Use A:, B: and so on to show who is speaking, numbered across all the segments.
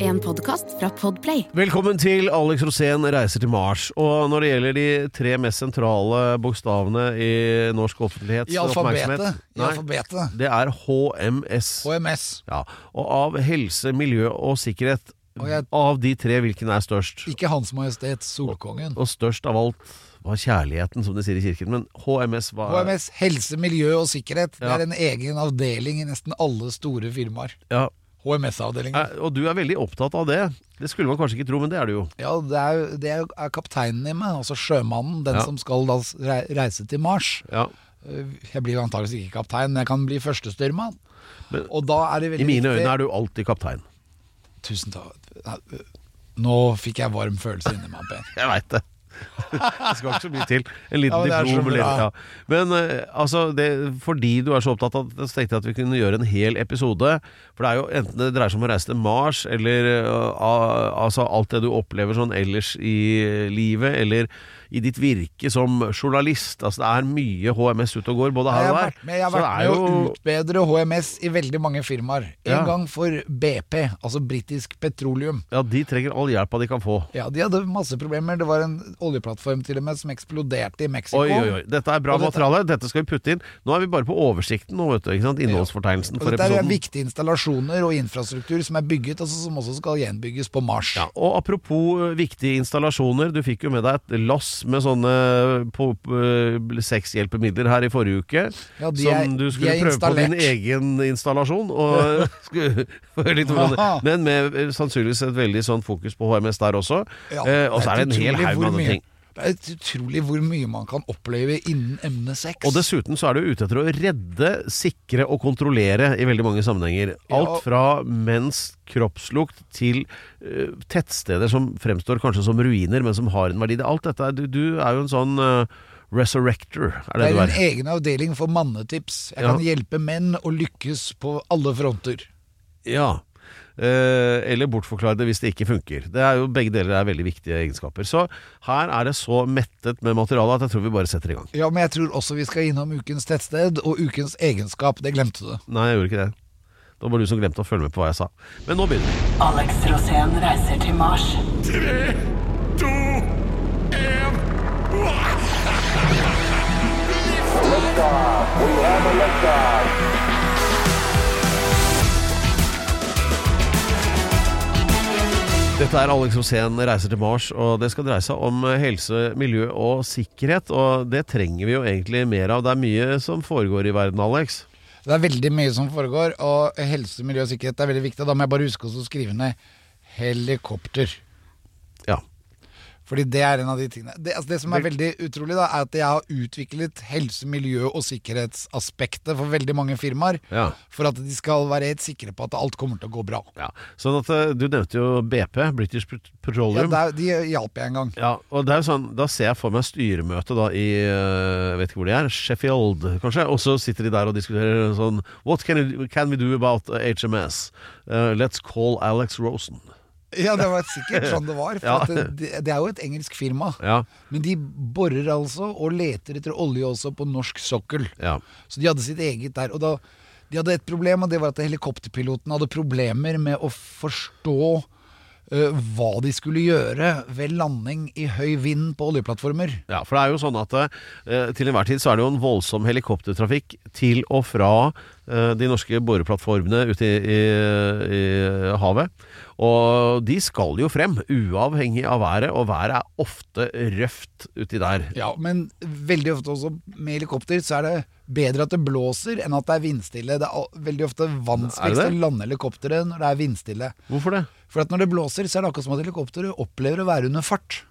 A: En podkast fra Podplay.
B: Velkommen til Alex Rosén reiser til Mars. Og når det gjelder de tre mest sentrale bokstavene i norsk offentlighets
C: I
B: oppmerksomhet
C: alfabetet. I
B: Nei,
C: alfabetet.
B: Det er HMS.
C: HMS.
B: Ja, og av helse, miljø og sikkerhet,
C: Og jeg-
B: av de tre, hvilken er størst?
C: Ikke Hans Majestet Solkongen.
B: Og størst av alt var kjærligheten, som de sier i kirken. Men HMS var
C: HMS Helse, miljø og sikkerhet. Det
B: Ja.
C: er en egen avdeling i nesten alle store firmaer.
B: Ja,
C: HMS-avdelingen.
B: eh, Og du er veldig opptatt av det. Det skulle man kanskje ikke tro, men det er du jo.
C: Ja, det er, jo- det er jo- er kapteinen i meg, altså sjømannen, den
B: Ja.
C: som skal da s- rei- reise til Mars.
B: Ja.
C: Eh, Jeg blir antakeligvis ikke kaptein, men jeg kan bli førstestyrmann. Og da er det veldig
B: I mine
C: viktig
B: øyne er du alltid kaptein.
C: Tusen takk. Nei, øh, Nå fikk jeg varm følelse inni meg, Per.
B: Jeg veit det. Det skal ikke så mye til. En
C: Ja,
B: liten
C: men det er så
B: diplom.
C: bra.
B: eller- Ja. Men eh, altså, det, fordi du er så opptatt av det, så tenkte jeg at vi kunne gjøre en hel episode. For det er jo enten det dreier seg om å reise til Mars, eller eh, a- altså alt det du opplever sånn ellers i livet, eller i ditt virke som journalist. Altså det er mye HMS ute og går, både her
C: Jeg
B: og
C: har
B: der.
C: vært med, jeg har
B: Så det
C: vært
B: er
C: med å
B: jo-
C: utbedre HMS i veldig mange firmaer. En
B: Ja.
C: gang for BP, altså britisk petroleum.
B: Ja, de trenger all hjelpa de kan få.
C: Ja, De hadde masse problemer. Det var en oljeplattform til og med som eksploderte i Mexico.
B: Oi, oi, oi. Dette er bra
C: Og dette-
B: materiale. Dette skal vi putte inn. Nå er vi bare på oversikten nå, vet du. Ikke sant? Innholdsfortegnelsen
C: Og
B: for
C: dette er
B: episoden.
C: viktige installasjoner og infrastruktur som er bygget, altså som også skal gjenbygges på Mars.
B: Ja, og apropos eh, viktige installasjoner, du fikk jo med deg et lass med sånne po- eh, sexhjelpemidler her i forrige uke.
C: Ja, de
B: som
C: er-
B: du
C: de
B: skulle
C: er
B: prøve på din
C: installert.
B: egen installasjon. Og skulle få høre litt hvordan det
C: Aha.
B: Men med eh, sannsynligvis et veldig sånn fokus på HMS der også.
C: Ja,
B: Eh, og så er det en hel
C: utrolig
B: haug
C: hvor
B: med andre
C: mye-
B: ting.
C: Det er et utrolig hvor mye man kan oppleve innen emnet sex.
B: Og dessuten så er du ute etter å redde, sikre og kontrollere i veldig mange sammenhenger.
C: Ja.
B: Alt fra menns kroppslukt til eh, tettsteder som fremstår kanskje som ruiner, men som har en verdi. Det- Alt dette er Du, du er jo en sånn eh, resurrector, er
C: det
B: det,
C: er
B: du
C: en e-
B: er.
C: egen avdeling for mannetips. Jeg
B: Ja.
C: kan hjelpe menn å lykkes på alle fronter.
B: Ja. Eh, eller bortforklare det hvis det ikke funker. Det er jo, begge deler er veldig viktige egenskaper. Så her er det så mettet med materiale at jeg tror vi bare setter i gang.
C: Ja, men jeg tror også vi skal innom ukens tettsted og ukens egenskap. Det glemte du.
B: Nei, jeg gjorde ikke det. Det var bare du som glemte å følge med på hva jeg sa. Men nå begynner vi.
D: Alex Rosén reiser til Mars.
B: Dette er Alex Rosén reiser til Mars, og det skal dreie seg om eh, helse, miljø og sikkerhet. Og det trenger vi jo egentlig mer av. Det er mye som foregår i verden, Alex.
C: Det er veldig mye som foregår, og helse, miljø og sikkerhet er veldig viktig. Da må jeg bare huske også å skrive ned helikopter.
B: Ja.
C: Fordi det er en av de tingene Det, altså det som er veldig utrolig, da, er at jeg har utviklet helse-, miljø- og sikkerhetsaspektet for veldig mange firmaer.
B: Ja.
C: For at de skal være helt sikre på at alt kommer til å gå bra.
B: ja. Sånn at eh, du nevnte jo BP, British Pet-
C: Ja,
B: Petroleum. Ja,
C: der, de hjalp jeg en gang.
B: og det er jo sånn, Da ser jeg for meg styremøte da i eh, jeg vet ikke hvor de er, Sheffield kanskje. Og så sitter de der og diskuterer sånn What can, you, can we do about eh, HMS? Eh, let's call Alex Rosen.
C: Ja, det var sikkert sånn det var. For
B: Ja.
C: at det, det er jo et engelsk firma.
B: Ja.
C: Men de borer altså og leter etter olje også på norsk sokkel.
B: Ja.
C: Så de hadde sitt eget der. Og da, de hadde et problem, og det var at helikopterpiloten hadde problemer med å forstå eh, hva de skulle gjøre ved landing i høy vind på oljeplattformer.
B: Ja, for det er jo sånn at eh, til enhver tid så er det jo en voldsom helikoptertrafikk til og fra eh, de norske boreplattformene ute i, i, i havet. Og de skal jo frem, uavhengig av været, og været er ofte røft uti der.
C: Ja, men veldig ofte også med helikopter så er det bedre at det blåser enn at det er vindstille. Det er al- veldig ofte
B: Er det
C: vanskeligst
B: det?
C: å lande helikopteret når det er vindstille.
B: Hvorfor det?
C: For at når det blåser, så er det akkurat som at helikopteret opplever å være under fart.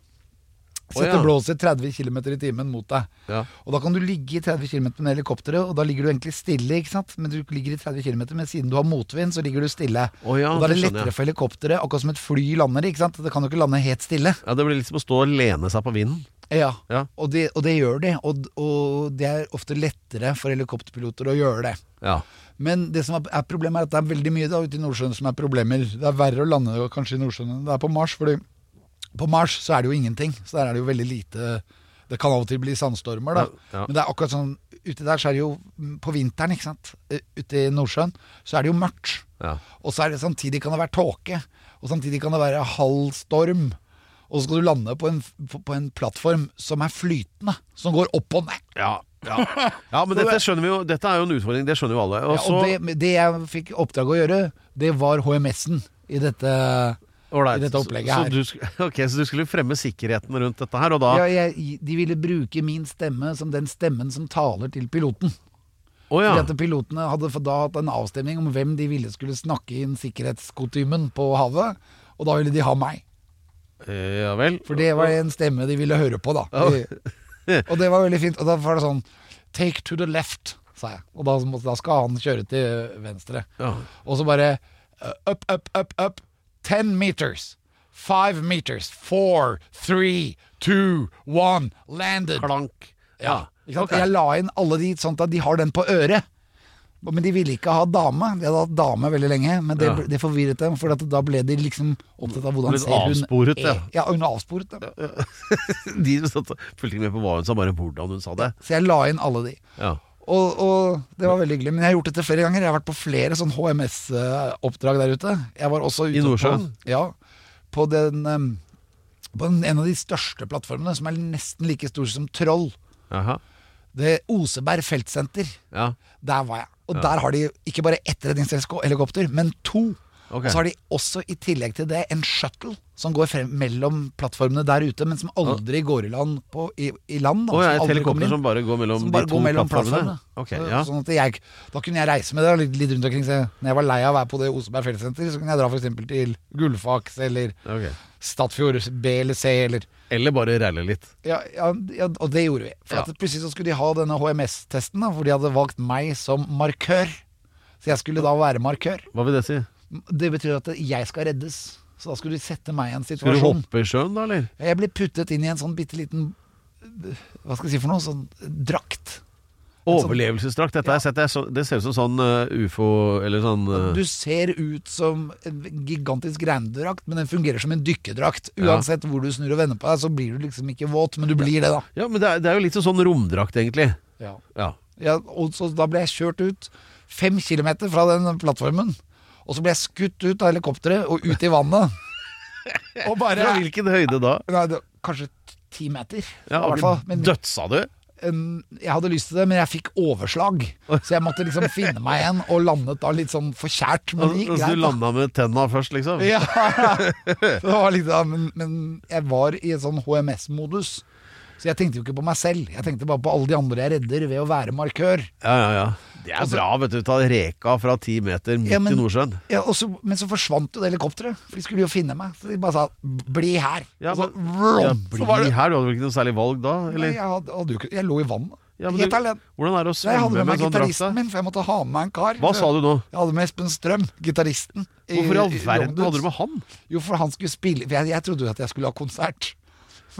B: Å,
C: Setter
B: ja.
C: blåser 30 km i timen mot deg.
B: Ja.
C: Og da kan du ligge i 30 km med helikopteret, og da ligger du egentlig stille, ikke sant? Men du ligger i 30 km, men siden du har motvind, så ligger du stille.
B: Å, ja,
C: og da er
B: det
C: det
B: skjønner jeg.
C: lettere for helikopteret, akkurat som et fly lander, ikke sant? Det kan jo ikke lande helt stille.
B: Ja, Det blir litt som å stå og lene seg på vinden.
C: Ja,
B: Ja.
C: Og, det, og det gjør de, og, og det er ofte lettere for helikopterpiloter å gjøre det.
B: Ja.
C: Men det som er- er problemet er at det er veldig mye da ute i Nordsjøen som er problemer. Det er verre å lande jo kanskje i Nordsjøen enn det er på Mars, fordi på Mars så er det jo ingenting. Så der er det jo veldig lite Det kan av og til bli sandstormer, da.
B: Ja, ja.
C: Men det er akkurat sånn Ute der så er det jo mm, på vinteren, ikke sant. Eh, Ute i Nordsjøen så er det jo mørkt.
B: Ja.
C: Og så er det samtidig kan det være tåke. Og samtidig kan det være halv storm. Og så skal du lande på en, på en plattform som er flytende. Som går opp og ned.
B: Ja, ja. ja men dette skjønner vi jo Dette er jo en utfordring, det skjønner jo alle. Og
C: Ja,
B: så
C: og det, det jeg fikk oppdrag å gjøre, det var HMS-en i dette
B: Ålreit,
C: i dette opplegget
B: Så
C: her.
B: du, sk- ok, så du skulle fremme sikkerheten rundt dette her, og da
C: ja, jeg, De ville bruke min stemme som den stemmen som taler til piloten.
B: Å ja.
C: Fordi at pilotene hadde for da hatt en avstemning om hvem de ville skulle snakke inn sikkerhetskostymen på havet. Og da ville de ha meg.
B: Eh, ja vel.
C: For det var en stemme de ville høre på, da. De, og det var veldig fint. Og da var det sånn Take to the left, sa jeg. Og da, må- da skal han kjøre til venstre.
B: Ja.
C: Og så bare uh, Up, up, up, up. Ten meters. Five meters. Four, three, two, one. Landed.
B: Klank.
C: Ja. Ikke sant?
B: ok.
C: Jeg la inn alle de sånn at de har den på øret. Men de ville ikke ha dame. De hadde hatt dame veldig lenge, men det,
B: Ja.
C: det forvirret dem. For at da ble de liksom opptatt av hvordan
B: Litt
C: ser hun
B: avsporet,
C: er.
B: ja.
C: ja. Hun er avsporet, ja.
B: De satt, fulgte ikke med på hva hun sa, bare hvordan hun sa det.
C: Så jeg la inn alle de.
B: Ja.
C: Og, og det var veldig hyggelig. Men jeg har gjort dette flere ganger. Jeg har vært på flere sånn HMS-oppdrag der ute. Jeg var også ute
B: I Nordsjøen?
C: På, ja. På, den, em, på den, en av de største plattformene, som er nesten like stor som Troll.
B: Jaha.
C: Det Oseberg feltsenter.
B: Ja.
C: Der var jeg. Og der har de ikke bare ett redningshelikopter, men to.
B: Ok.
C: Og så har de også i tillegg til det en shuttle som går frem mellom plattformene der ute, men som aldri går i land. På, i, i land da,
B: Å ja, et
C: som aldri
B: helikopter
C: kommer inn.
B: som bare går mellom
C: Som bare
B: de
C: går
B: to
C: mellom
B: plattformene.
C: plattformene.
B: Ok,
C: Så-
B: ja.
C: Sånn at jeg, da kunne jeg reise med det litt, litt rundt omkring. Så jeg- når jeg var lei av å være på det Oseberg feltsenter, så kunne jeg dra for eksempel til Gullfaks eller
B: Ok.
C: Stadfjord B eller C eller
B: Eller bare reile litt.
C: ja, ja, ja, og det gjorde vi. For
B: Ja.
C: at Plutselig så skulle de ha denne HMS-testen, da, hvor de hadde valgt meg som markør. Så jeg skulle da være markør.
B: Hva vil det si?
C: Det betyr at jeg skal reddes. Så da skulle de sette meg i en
B: Skal du
C: situasjon.
B: hoppe i sjøen da, eller?
C: Jeg ble puttet inn i en sånn bitte liten Hva skal jeg si for noe? Sånn drakt. sånn-
B: Overlevelsesdrakt. Dette har jeg sett, det, er så, det ser ut som sånn eh, ufo eller sånn eh,
C: Du ser ut som en gigantisk regndrakt, men den fungerer som en dykkerdrakt. Uansett hvor du snur og vender på deg, så blir du liksom ikke våt, men du blir det, da.
B: Ja, men det er, det er jo litt som sånn romdrakt, egentlig.
C: Ja.
B: Ja.
C: ja, og så da ble jeg kjørt ut fem kilometer fra den plattformen. Og så ble jeg skutt ut av helikopteret og ut i vannet. Og bare
B: Fra hvilken høyde da?
C: Nei, det, Kanskje t- ti meter.
B: Ja,
C: i hvert fall. Men
B: Dødsa du?
C: en, jeg hadde lyst til det, men jeg fikk overslag. Så jeg måtte liksom finne meg igjen, og landet da litt sånn forkjært. Men det
B: Altså,
C: gikk
B: altså, du
C: greit. da.
B: landa med tenna først, liksom?
C: Ja. Så det var litt, da, men, men jeg var i en sånn HMS-modus. Så jeg tenkte jo ikke på meg selv, jeg tenkte bare på alle de andre jeg redder ved å være markør.
B: Ja, ja, ja. Det er bra, vet du. Ta reka fra ti meter midt
C: Altså- Ja, men-
B: i Nordsjøen.
C: Ja, og så, men så forsvant jo det helikopteret, for de skulle jo finne meg. Så de bare sa 'bli her'.
B: Ja,
C: og så,
B: men-
C: vroom,
B: Ja,
C: så
B: bli
C: var det,
B: her, du hadde vel ikke noe særlig valg da?
C: Nei,
B: Eller?
C: jeg, hadde, hadde, jo ikke- jeg lå i vannet.
B: Ja, men
C: Helt
B: du-
C: alene.
B: Hvordan er det å
C: Så jeg hadde
B: svømme
C: med meg
B: med en sånn drakt?
C: gitaristen
B: da?
C: min, for jeg måtte ha med meg en kar.
B: Hva sa du nå?
C: Jeg hadde med Espen Strøm, gitaristen. i-
B: Hvorfor i all
C: i
B: verden hadde
C: Young
B: du
C: Dudes.
B: med han?
C: Jo, for han skulle spille for Jeg, jeg trodde jo at jeg skulle ha konsert.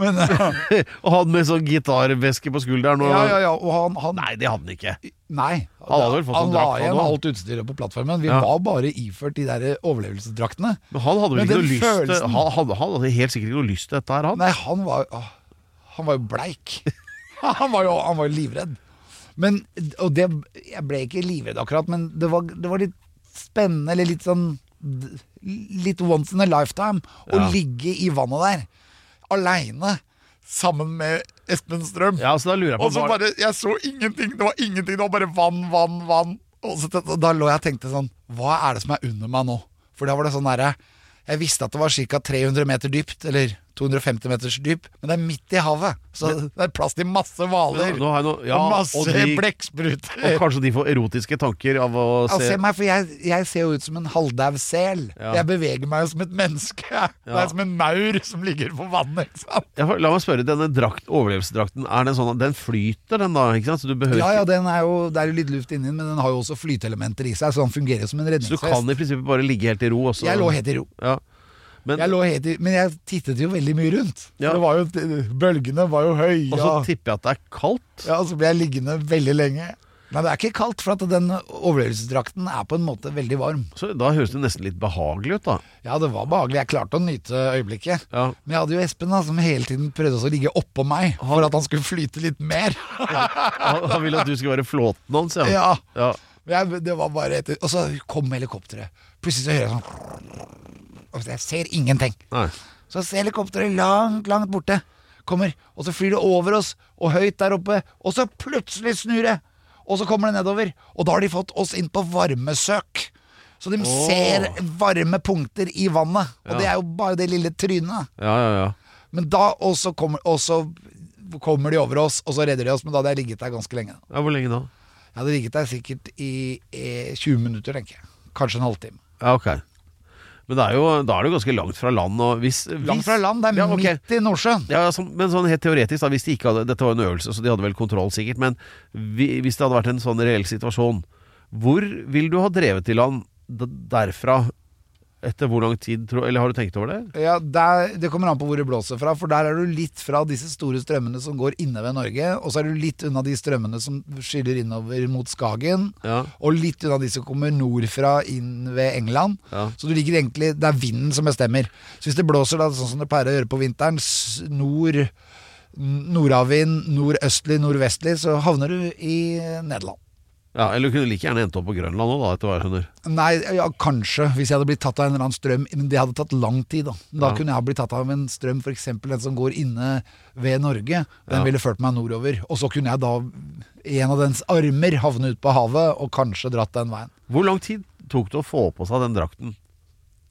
C: Men eh,
B: Og han med sånn gitarveske på skulderen og
C: Ja, ja, ja. Og han, han
B: Nei, det hadde han ikke.
C: Nei.
B: Han hadde vel fått
C: han
B: en
C: la
B: drakt, han
C: igjen
B: også.
C: alt utstyret på plattformen. Vi
B: Ja.
C: var bare iført de der overlevelsesdraktene.
B: Men han hadde vel
C: Men
B: ikke
C: den
B: noe lyst til
C: følelsen-
B: han, han, han hadde helt sikkert ikke noe lyst til dette her, han.
C: Nei, han var, åh, han var jo bleik. Han var jo, han var jo livredd. Men, og det, jeg ble ikke livredd akkurat, men det var, det var litt spennende, eller litt sånn d- Litt once in a lifetime å
B: Ja.
C: ligge i vannet der, aleine, sammen med Espen Strøm.
B: Ja, så da lurer jeg på
C: Og så
B: hva-
C: bare Jeg så ingenting. Det var ingenting. Det var bare vann, vann, vann. Og så, tenkte- da lå jeg og tenkte sånn Hva er det som er under meg nå? For da var det sånn derre Jeg visste at det var ca. 300 meter dypt, eller 250 meters dyp, men det er midt i havet. Så det er plass til masse hvaler.
B: Ja, nå har jeg noe- ja,
C: og masse
B: og de-
C: blekkspruter.
B: Og kanskje de får erotiske tanker av å
C: Ja,
B: se
C: se meg, for jeg, jeg ser jo ut som en halvdau sel.
B: Ja.
C: Jeg beveger meg jo som et menneske. Det er som en maur som ligger på vannet. Ikke sant?
B: ja, for La meg spørre, denne drakt, overlevelsesdrakten, er den sånn at den flyter, den da? ikke sant? Så du behøver
C: Ja, ja,
B: ikke-
C: den er jo, det er jo litt luft inni den, men den har jo også flyteelementer i seg, så den fungerer jo som en
B: Så du kan
C: redningsvest.
B: i prinsippet bare ligge helt i ro også?
C: Jeg lå helt i ro.
B: ja. Men,
C: Jeg lå helt i, men jeg tittet jo veldig mye rundt.
B: Ja.
C: Det var jo, bølgene var jo høye.
B: Og så tipper jeg at det er kaldt.
C: Ja, så ble jeg liggende veldig lenge. Nei, det er ikke kaldt, for at den overlevelsesdrakten er på en måte veldig varm.
B: Så da høres det nesten litt behagelig ut, da.
C: Ja, det var behagelig. Jeg klarte å nyte øyeblikket.
B: Ja.
C: Men jeg hadde jo Espen da, som hele tiden prøvde å ligge oppå meg, for at han skulle flyte litt mer.
B: Han, han ville at du skulle være flåten hans, ja.
C: Ja.
B: ja.
C: Men jeg, det var bare etter, Og så kom helikopteret. Plutselig så hører jeg sånn Og Jeg ser ingenting.
B: Nei.
C: Så ser helikopteret langt, langt borte. Kommer, og så flyr det over oss, og høyt der oppe, og så plutselig snur det! Og så kommer det nedover, og da har de fått oss inn på varmesøk. Så de ser varme punkter i vannet, og det er jo bare det lille trynet.
B: Ja, ja, ja.
C: Men da, og så kommer, og så kommer de over oss, og så redder de oss, men da hadde jeg ligget der ganske lenge.
B: ja hvor lenge da?
C: Jeg hadde ligget der sikkert i eh, 20 minutter, tenker jeg. Kanskje en halvtime.
B: Ja, ok. Men det er jo, da er det jo ganske langt fra land. Og hvis,
C: Langt
B: hvis-
C: fra land, det er
B: ja, ok.
C: midt i Nordsjøen.
B: Ja, ja, sånn- men sånn helt teoretisk, da, hvis de ikke hadde, dette var jo en øvelse, så de hadde vel kontroll sikkert, men vi, hvis det hadde vært en sånn reell situasjon, hvor vil du ha drevet i land d- derfra etter hvor lang tid, tror, eller har du tenkt over det?
C: Ja, der, Det kommer an på hvor det blåser fra, for der er du litt fra disse store strømmene som går inne ved Norge, og så er du litt unna de strømmene som skyller innover mot Skagen,
B: Ja.
C: og litt unna de som kommer nordfra inn ved England.
B: Ja.
C: Så du ligger egentlig Det er vinden som bestemmer. Så hvis det blåser da, sånn som det pleier å gjøre på vinteren, s- nord n- Nordavvind, nordøstlig, nordvestlig, så havner du i Nederland.
B: Ja, eller du kunne like gjerne endt opp på Grønland nå, da, etter hva jeg skjønner.
C: Nei, ja, kanskje, hvis jeg hadde blitt tatt av en eller annen strøm. Men det hadde tatt lang tid, da. Da
B: Ja.
C: kunne jeg ha blitt tatt av en strøm, f.eks. den som går inne ved Norge. Den
B: Ja.
C: ville ført meg nordover. Og så kunne jeg da, i en av dens armer, havne ut på havet og kanskje dratt den veien.
B: Hvor lang tid tok det å få på seg den drakten?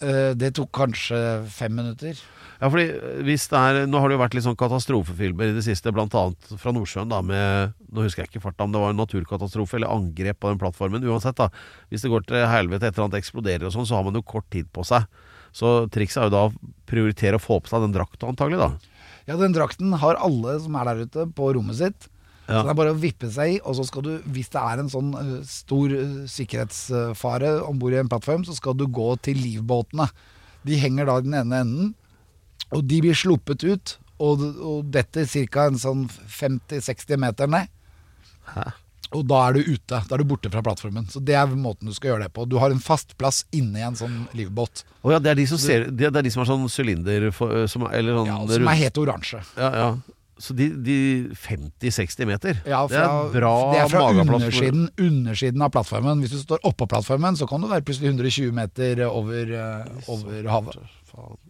C: Eh, Det tok kanskje fem minutter.
B: Ja, fordi eh, hvis det er, Nå har det jo vært litt sånn katastrofefilmer i det siste, blant annet fra Nordsjøen, da med Nå husker jeg ikke farta, om det var en naturkatastrofe eller angrep på den plattformen. Uansett, da. Hvis det går til helvete, et eller annet eksploderer og sånn, så har man jo kort tid på seg. Så trikset er jo da å prioritere å få på seg den drakta, antagelig, da.
C: Ja, den drakten har alle som er der ute, på rommet sitt.
B: Ja.
C: Så det er bare å vippe seg i, og så skal du, hvis det er en sånn eh, stor eh, sikkerhetsfare om bord i en plattform, så skal du gå til livbåtene. De henger da i den ene enden, og de blir sluppet ut, og, og detter ca. en sånn 50-60 meter ned. Og da er du ute. Da er du borte fra plattformen. Så det er måten du skal gjøre det på. Du har en fast plass inni en sånn livbåt,
B: Å ja, det er de som, ser, det er de som har sånn sylinder for- som, er- Eller sånn
C: ja, som
B: rund-
C: er helt oransje.
B: ja, ja. Så de, de 50-60 meter,
C: Ja,
B: det er
C: fra,
B: bra
C: det er fra
B: mageplass for-
C: undersiden, undersiden av plattformen. Hvis du står oppå plattformen, så kan du være plutselig 120 meter over, eh, over havet.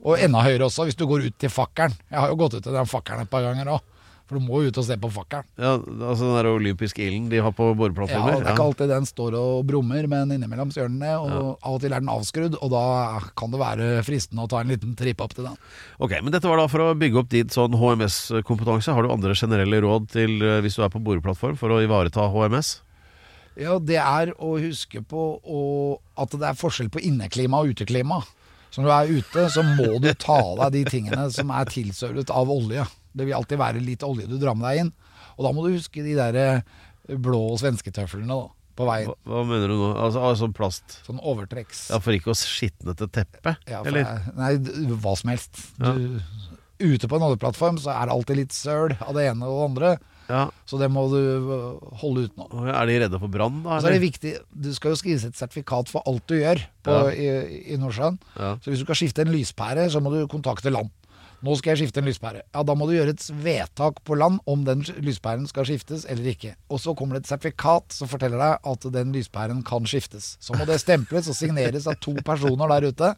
C: Og enda høyere også, hvis du går ut til fakkelen. Jeg har jo gått ut til den fakkelen et par ganger òg, for du må jo ut og se på fakkelen.
B: Ja, altså den der olympiske ilden de har på
C: Ja,
B: boreplattformer.
C: det er ikke alltid den står og brummer, men innimellom så gjør den det. Og av og til er den avskrudd, og da kan det være fristende å ta en liten tripp opp til den.
B: Ok, men dette var da for å bygge opp din sånn HMS-kompetanse. Har du andre generelle råd til eh, hvis du er på boreplattform for å ivareta HMS?
C: Ja, det er å huske på å, at det er forskjell på inneklima og uteklima. Så når du er ute, så må du ta av deg de tingene som er tilsølet av olje. Det vil alltid være litt olje du drar med deg inn. Og da må du huske de der eh, blå svensketøflene da, på
B: Hva,
C: veien.
B: hva mener du nå? Altså, altså plast?
C: Sånn overtrekks.
B: Ja, For ikke å skitne til teppet?
C: Ja, for,
B: eller?
C: Nei, d- hva som helst. Du, ute på en oljeplattform så er det alltid litt søl av det ene og det andre.
B: Ja.
C: Så det må du eh, holde ut nå.
B: Og Er de redde for brann, da?
C: Og så er det
B: eller?
C: viktig, du skal jo skrives et sertifikat for alt du gjør på, i, i Nordsjøen.
B: Ja.
C: Så hvis du skal skifte en lyspære, så må du kontakte land. Nå skal jeg skifte en lyspære. Ja, da må du gjøre et vedtak på land om den lyspæren skal skiftes eller ikke. Og så kommer det et sertifikat som forteller deg at den lyspæren kan skiftes. Så må det stemples og signeres av to personer der ute.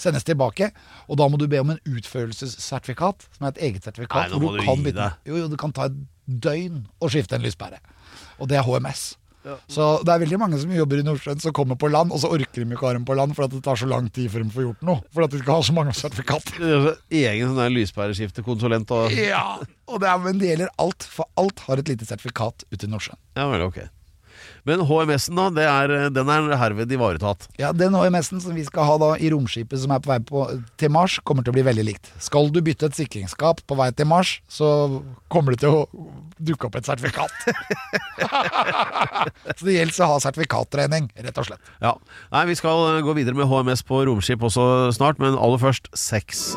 C: Sendes tilbake. Og da må du be om en utførelsessertifikat, som er et eget
B: Nei,
C: sertifikat.
B: nå
C: hvor
B: må
C: du
B: du
C: kan
B: gi
C: bytte-
B: deg.
C: Jo, jo, det kan ta et døgn å skifte en lyspære. Og det er HMS. Så det er veldig mange som jobber i Nordsjøen som kommer på land, og så orker de ikke å ha dem på land for at det tar så lang tid før de får gjort noe. For at de skal ha så mange sertifikater.
B: Egen sånn der lyspæreskiftekonsulent og
C: Ja, og det, er, men det gjelder alt, for alt har et lite sertifikat ute i Nordsjøen.
B: Ja vel, ok. Men HMS-en, da, det er, den er herved ivaretatt.
C: Ja, Den HMS-en som vi skal ha da i romskipet som er på vei på, til Mars, kommer til å bli veldig likt. Skal du bytte et sikringsskap på vei til Mars, så kommer det til å dukke opp et sertifikat. så det gjelder å ha sertifikatregning, rett og slett.
B: Ja. Nei, vi skal eh, gå videre med HMS på romskip også snart, men aller først sex.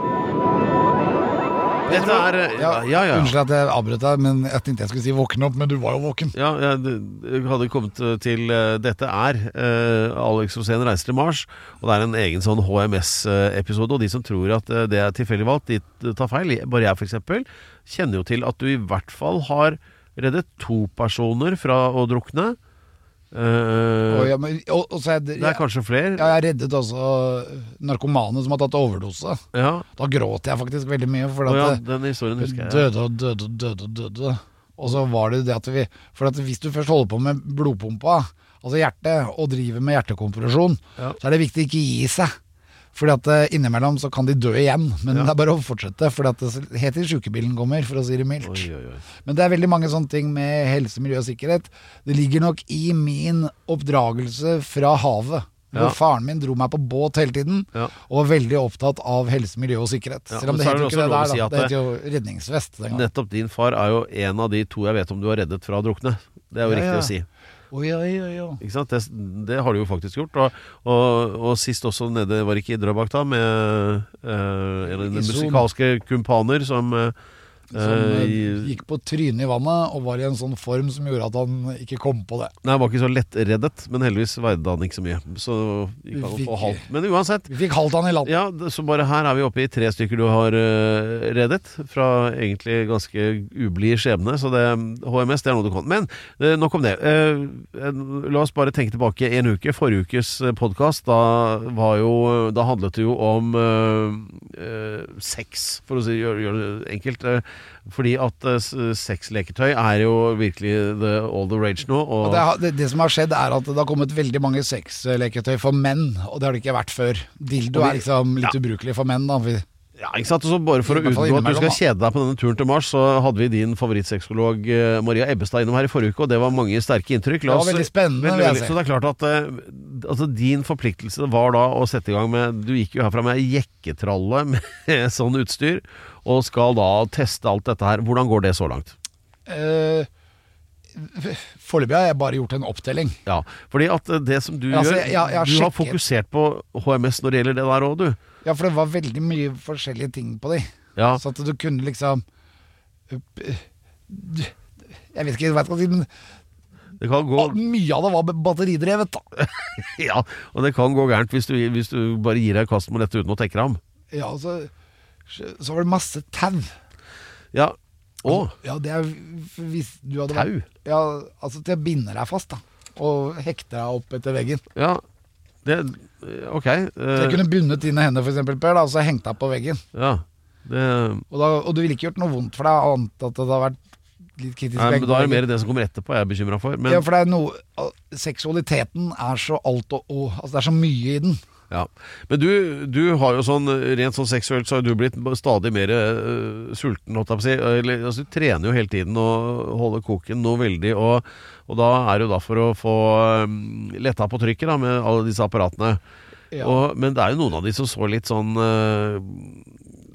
B: Dette er eh, Ja, ja. ja.
C: Unnskyld at jeg avbrøt deg, men jeg tenkte jeg skulle si våkne opp, men du var jo våken.
B: Ja, jeg d- hadde kommet eh, til eh, Dette er eh, Alex Rosén reiser til Mars, og det er en egen sånn HMS-episode. Og de som tror at eh, det er tilfeldig valgt, de t- tar feil. Jeg- Bare jeg, f.eks., kjenner jo til at du i hvert fall har reddet to personer fra å drukne. Eh,
C: Og, jeg, men- og, og så er det,
B: Det er
C: jeg,
B: kanskje flere.
C: jeg har reddet også narkomane som har tatt overdose.
B: Ja.
C: Da gråt jeg faktisk veldig mye, for
B: Å
C: at eh,
B: ja,
C: det-
B: den historien husker jeg.
C: Døde og døde og døde og døde. Og så var det det at vi For at hvis du først holder på med blodpumpa, altså hjertet, og driver med hjertekompresjon,
B: Ja.
C: så er det viktig å ikke gi seg. Fordi at eh, innimellom så kan de dø igjen, men det er bare å fortsette. Fordi at det helt til sjukebilen kommer, for å si det mildt.
B: Oi, oi, oi.
C: Men det er veldig mange sånne ting med helse, miljø og sikkerhet. Det ligger nok i min oppdragelse fra havet. Hvor
B: Ja.
C: faren min dro meg på båt hele tiden,
B: Ja.
C: og var veldig opptatt av helse, miljø og sikkerhet.
B: Ja,
C: Selv om
B: men
C: det
B: så er
C: heter
B: det
C: jo ikke
B: også
C: det
B: lov å
C: der,
B: si
C: da.
B: at
C: Det heter jo redningsvest den gangen.
B: Nettopp din far er jo en av de to jeg vet om du har reddet fra å drukne. Det er jo
C: Ja,
B: riktig å
C: ja.
B: si.
C: Oi, oi, oi, oi.
B: Ikke sant? Det, det har du jo faktisk gjort. Og, og, og sist også nede, var det ikke i Drøbak da, med eh, en av dine
C: I Son.
B: musikalske kumpaner som eh,
C: Som
B: eh,
C: eh, gikk på trynet i vannet og var i en sånn form som gjorde at han ikke kom på det.
B: Nei, var ikke så lettreddet, men heldigvis veide han ikke så mye. Så gikk han
C: Vi
B: opp og
C: fikk-
B: halvt. Men uansett.
C: Vi fikk halvt han i land.
B: Ja, det- så bare her er vi oppe i tre stykker du har eh, reddet fra egentlig ganske ublid skjebne. Så det, HMS, det er noe du kan. Men eh, nok om det. Eh, en- la oss bare tenke tilbake en uke. Forrige ukes podkast, da var jo Da handlet det jo om eh, eh, sex, for å si, gjøre gjøre det enkelt. eh, fordi at eh, s- sexleketøy er jo virkelig the, all the rage nå. Og,
C: Og det, har- det, det som har skjedd, er at det har kommet veldig mange sexleketøy for menn, og det har det ikke vært før. Dildo
B: Og vi-
C: er liksom litt ubrukelig for menn, da. Vi-
B: Ja, ikke sant? Og Så bare for å
C: I hvert fall
B: unngå at du
C: innimellom,
B: skal kjede deg på denne turen til Mars, så hadde vi din favorittsexolog eh, Maria Ebbestad innom her i forrige uke, og det var mange sterke inntrykk.
C: Det var veldig spennende, vil jeg si.
B: Så det er klart at eh, altså, din forpliktelse var da å sette i gang med Du gikk jo herfra med ei jekketralle med sånn utstyr, og skal da teste alt dette her. Hvordan går det så langt?
C: Eh, Foreløpig har jeg bare gjort en opptelling.
B: Ja, fordi at eh, det som du
C: Altså,
B: gjør
C: jeg- jeg- jeg har
B: Du har
C: sjekket-
B: fokusert på HMS når det gjelder det der òg, du.
C: Ja, for det var veldig mye forskjellige ting på de.
B: Ja.
C: Så at du kunne liksom eh, Jeg vet ikke hva jeg skal si, men
B: Det kan gå
C: mye av det var batteridrevet, da.
B: Ja, og det kan gå gærent hvis du, hvis du bare gir deg i kast med dette uten å tenke deg om.
C: Ja, og så, så var det masse tau. Altså,
B: Ja. Å,
C: Ja, det er hvis du hadde
B: Tau?
C: vært- Ja, altså til å binde deg fast, da. Og hekte deg opp etter veggen.
B: ja. Det Ok. eh,
C: Så jeg kunne bundet dine hender, for eksempel, Per, da, og så hengt deg på veggen.
B: ja. Det,
C: Og, da, og du ville ikke gjort noe vondt for deg, annet at det hadde vært litt kritisk.
B: nei, men
C: vegg
B: da
C: på
B: er det
C: veggen.
B: mer det som kommer etterpå jeg er bekymra for. Men,
C: ja, for det er noe al- Seksualiteten er så alt og, og Altså, det er så mye i den.
B: ja. men du, du har jo sånn rent sånn seksuelt så har du blitt stadig mer eh, sulten, holdt jeg på å si. Eller, altså, du trener jo hele tiden og holder koken noe veldig. Og, og da er det jo da for å få eh, letta på trykket da, med alle disse apparatene.
C: Ja.
B: Og, men det er jo noen av de som så litt sånn eh,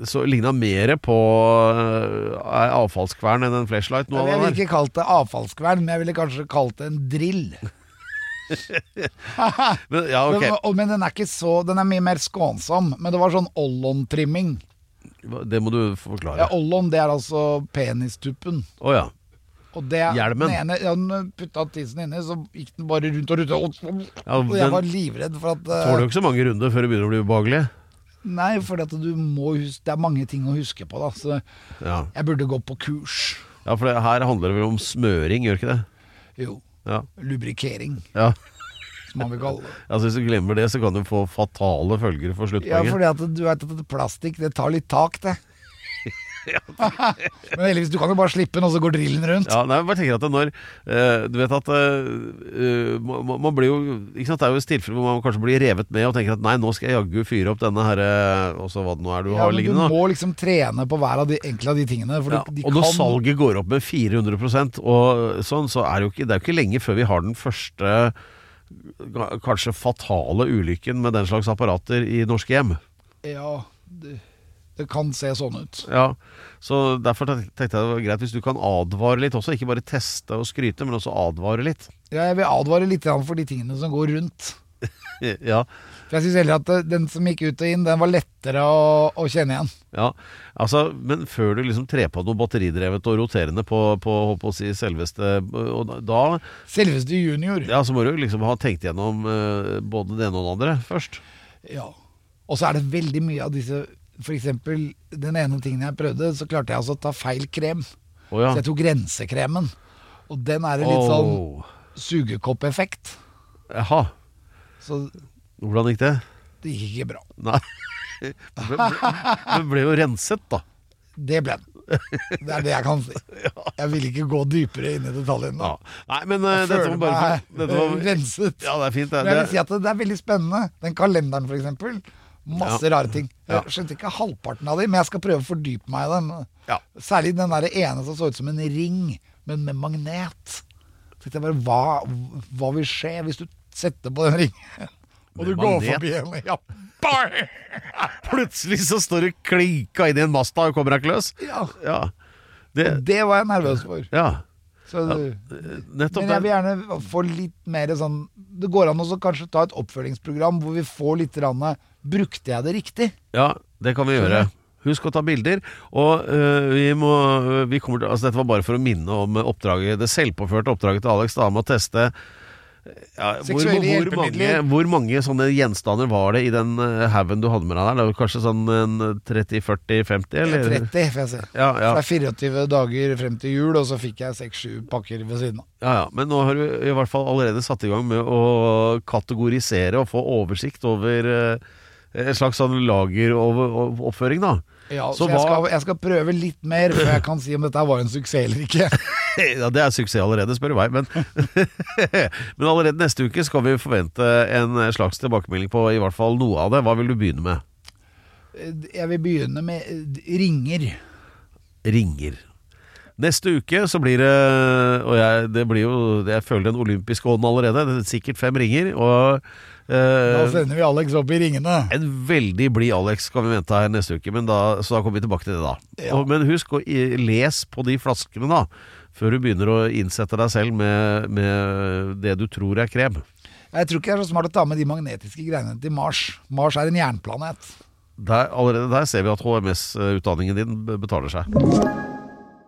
B: Så ligna mer på eh, avfallskvern enn en flashlight. Noe
C: jeg
B: av det
C: ville
B: der.
C: ikke kalt det avfallskvern, men jeg ville kanskje kalt det en drill.
B: Men, ja, ok.
C: Men, og- men den er ikke så Den er mye mer skånsom. Men det var sånn ollon-trimming.
B: Hva- Det må du forklare.
C: Ja,
B: Å
C: ollon, det er altså penistuppen.
B: ja.
C: Og det,
B: Hjelmen.
C: Den ene, ja, den putta tissen inni, så gikk den bare rundt og rundt. Og,
B: Ja,
C: og jeg
B: den-
C: var livredd for at eh,
B: Tåler jo ikke så mange runder før det begynner å bli ubehagelig.
C: Nei, for at du må huske, det er mange ting å huske på, da. Så
B: Ja.
C: jeg burde gå på kurs.
B: ja, for det, her handler det vel om smøring, gjør ikke det?
C: Jo.
B: Ja.
C: Lubrikering,
B: ja.
C: som man vil kalle det.
B: Altså, hvis du glemmer det, så kan du få fatale følger for
C: Ja,
B: sluttpoenget.
C: fordi at du vet at plastikk, det tar litt tak, det. Men heldigvis, du kan jo bare slippe den, og så går drillen rundt.
B: Ja, nei, jeg bare tenker at det når eh, Du vet at eh, eh, man, man- man blir jo ikke sant, Det er jo et tilfelle hvor man kanskje blir revet med og tenker at nei, nå skal jeg jaggu fyre opp denne herre Og så hva det nå er du
C: Ja,
B: har
C: men du
B: liggende nå.
C: må liksom trene på hver av de enkelte av de tingene. For
B: Ja,
C: du, de
B: og når
C: kan
B: salget går opp med 400 og sånn, så er det jo ikke, det er jo ikke lenge før vi har den første ga- kanskje fatale ulykken med den slags apparater i norske hjem.
C: Ja, det, det kan se sånn ut.
B: Ja, så Derfor te- tenkte jeg det var greit hvis du kan advare litt også. Ikke bare teste og skryte, men også advare litt.
C: Ja, jeg vil advare litt grann for de tingene som går rundt.
B: Ja,
C: For jeg syns heller at eh, den som gikk ut og inn, den var lettere å, å kjenne igjen.
B: ja. Altså, Men før du liksom trer på noe batteridrevet og roterende på, på håper å si, selveste og da,
C: Selveste junior.
B: ja, Så må du liksom ha tenkt gjennom eh, både det ene og det andre først.
C: Ja. Og så er det veldig mye av disse For eksempel, den ene tingen jeg prøvde, så klarte jeg altså å ta feil krem.
B: Å ja.
C: Så jeg tok rensekremen. Og den er en litt
B: Åh.
C: sånn sugekoppeffekt.
B: Jaha.
C: Så
B: Hvordan gikk det?
C: det gikk ikke bra.
B: Nei. Men ble, men ble jo renset, da.
C: Det ble den. Det er det jeg kan si. Jeg vil ikke gå dypere inn i detaljene.
B: Ja. Nei, men eh,
C: Jeg
B: dette var
C: føler
B: bare
C: meg
B: dette var,
C: renset.
B: Ja, det er fint. Det,
C: Men jeg vil si
B: det,
C: at det, det er veldig spennende. Den kalenderen, for eksempel. Masse
B: Ja.
C: rare ting.
B: Ja.
C: Jeg skjønte ikke halvparten av dem, men jeg skal prøve å fordype meg i dem.
B: Ja.
C: Særlig den der ene som så ut som en ring, men med magnet. Så tenkte jeg bare, hva, hva vil skje hvis du setter på den ringen? Og du
B: Med
C: går
B: magnet?
C: forbi henne. Ja. Bang!
B: plutselig så står du klinka inn i en masta og kommer deg ikke løs.
C: ja.
B: Ja. Det,
C: Det var jeg nervøs for.
B: ja.
C: Så,
B: Nettopp.
C: men jeg
B: det.
C: vil gjerne få litt mer sånn Det går an å så kanskje ta et oppfølgingsprogram hvor vi får litt grann, Brukte jeg det riktig?
B: Ja, det kan vi gjøre. Husk å ta bilder. Og øh, vi må øh, vi kommer til, altså Dette var bare for å minne om oppdraget det selvpåførte oppdraget til Alex da med å teste eh, ja, hvor,
C: Seksuelle
B: hvor, mange,
C: hjelpemidler.
B: hvor mange sånne gjenstander var det i den øh, haugen du hadde med deg der? Det var kanskje sånn en 30-40-50?
C: Jeg
B: eller?
C: er 30, får jeg si.
B: Ja, ja.
C: For det er 24 dager frem til jul, og så fikk jeg 6-7 pakker ved siden av.
B: Ja, ja, Men nå har du i hvert fall allerede satt i gang med å kategorisere og få oversikt over eh, en slags sånn lageroppføring, da.
C: Ja, så
B: Så
C: jeg,
B: hva-
C: skal, jeg skal prøve litt mer før jeg kan si om dette var en suksess eller ikke.
B: Ja, Det er suksess allerede, spør du meg. Men, men allerede neste uke skal vi forvente en slags tilbakemelding på i hvert fall noe av det. Hva vil du begynne med?
C: Jeg vil begynne med eh, ringer.
B: Ringer. Neste uke så blir det Og jeg, det blir jo, jeg føler den olympiske ånden allerede. Det er sikkert fem ringer. Og
C: Da
B: eh,
C: sender vi Alex opp i ringene.
B: En veldig blid Alex kan vi vente her neste uke, men da, så da kommer vi tilbake til det da.
C: Ja.
B: Og, men husk å i- les på de flaskene da, før du begynner å innsette deg selv med, med det du tror er krem.
C: Jeg tror ikke det er så smart å ta med de magnetiske greiene til Mars. Mars er en jernplanet.
B: Der, allerede der ser vi at HMS-utdanningen din b- betaler seg.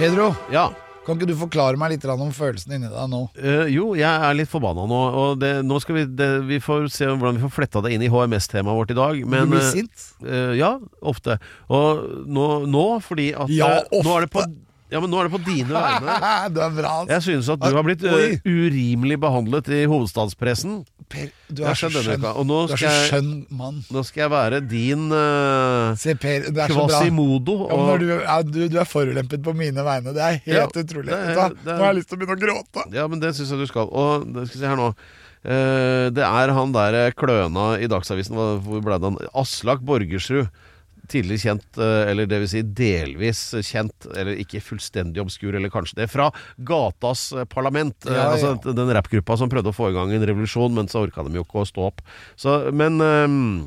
C: Pedro,
B: Ja,
C: kan ikke du forklare meg litt grann om følelsen inni deg nå?
B: Eh, jo, jeg er litt forbanna nå, og det, nå skal vi, det, vi får se hvordan vi får fletta det inn i HMS-temaet vårt i dag. Men,
C: du blir
B: eh,
C: sint?
B: Eh, ja, ofte. Og nå, nå fordi at
C: Ja,
B: eh, Nå er det på,
C: ofte.
B: ja, men nå er det på dine vegne.
C: du er bra. ass.
B: Jeg synes at du har blitt ø,
C: Oi.
B: urimelig behandlet i hovedstadspressen.
C: Per, du
B: Jeg
C: er så
B: skjønner det
C: skjønn.
B: ikke, og nå
C: Du er så
B: skal jeg-
C: skjønn mann.
B: Nå skal jeg være din ø,
C: Se, Per, du er så bra.
B: Quasimodo.
C: Ja, men
B: og-
C: når du, ja, du, du er forulempet på mine vegne. Det er helt
B: Ja,
C: utrolig.
B: det er-
C: Vet du hva?
B: det er-
C: Nå har jeg lyst til å begynne å gråte.
B: Ja, men det syns jeg du skal. Og det skal vi se her nå. Eh, det er han der eh, kløna i Dagsavisen, hva- hvor ble det han? Aslak Borgersrud. Tidligere kjent, eh, eller det vil si delvis kjent, eller ikke fullstendig obskur, eller kanskje det, fra Gatas eh, Parlament. Eh,
C: Ja, ja.
B: Altså den rappgruppa som prøvde å få i gang en revolusjon, men så orka de jo ikke å stå opp. Så, men eh,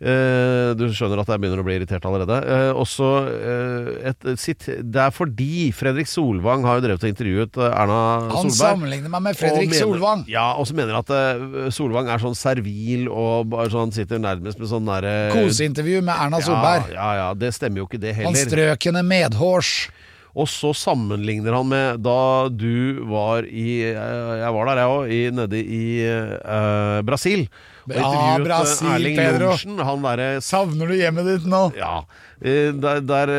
B: Eh, Du skjønner at jeg begynner å bli irritert allerede. Eh, Også eh, et sitt Det er fordi Fredrik Solvang har jo drevet og intervjuet eh, Erna
C: Han
B: Solberg.
C: sammenligner meg med Fredrik
B: Og mener-
C: Solvang.
B: Ja, og så mener at eh, Solvang er sånn servil og bare sånn sitter nærmest med sånn derre
C: Koseintervju med Erna Solberg.
B: Ja, ja, ja, det stemmer jo ikke det
C: Han
B: heller.
C: strøk henne medhårs.
B: Og så sammenligner han med da du var i eh, Jeg var der, jeg òg, nede i eh, Brasil. Og
C: Ja,
B: intervjuet, eh,
C: Brasil,
B: Erling
C: Pedro.
B: Lorentzen, han derre
C: Savner du hjemmet ditt nå?
B: ja. eh, Der, der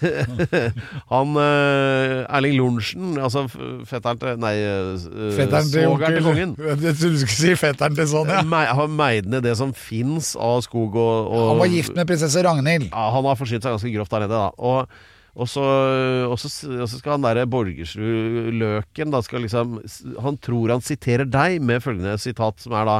B: eh, Han eh, Erling Lorentzen, altså f- fetteren til Nei, eh,
C: Fetteren til
B: svogeren til kongen.
C: Jeg trodde du skulle si fetteren til sånn, ja.
B: Mei- Har meid ned det som fins av skog og, og
C: Han var gift med prinsesse Ragnhild.
B: ja, han har forsynt seg ganske grovt der nede, da. Og, og, så, og, så, og så skal han derre Borgersrud-løken da skal liksom Han tror han siterer deg med følgende sitat, som er da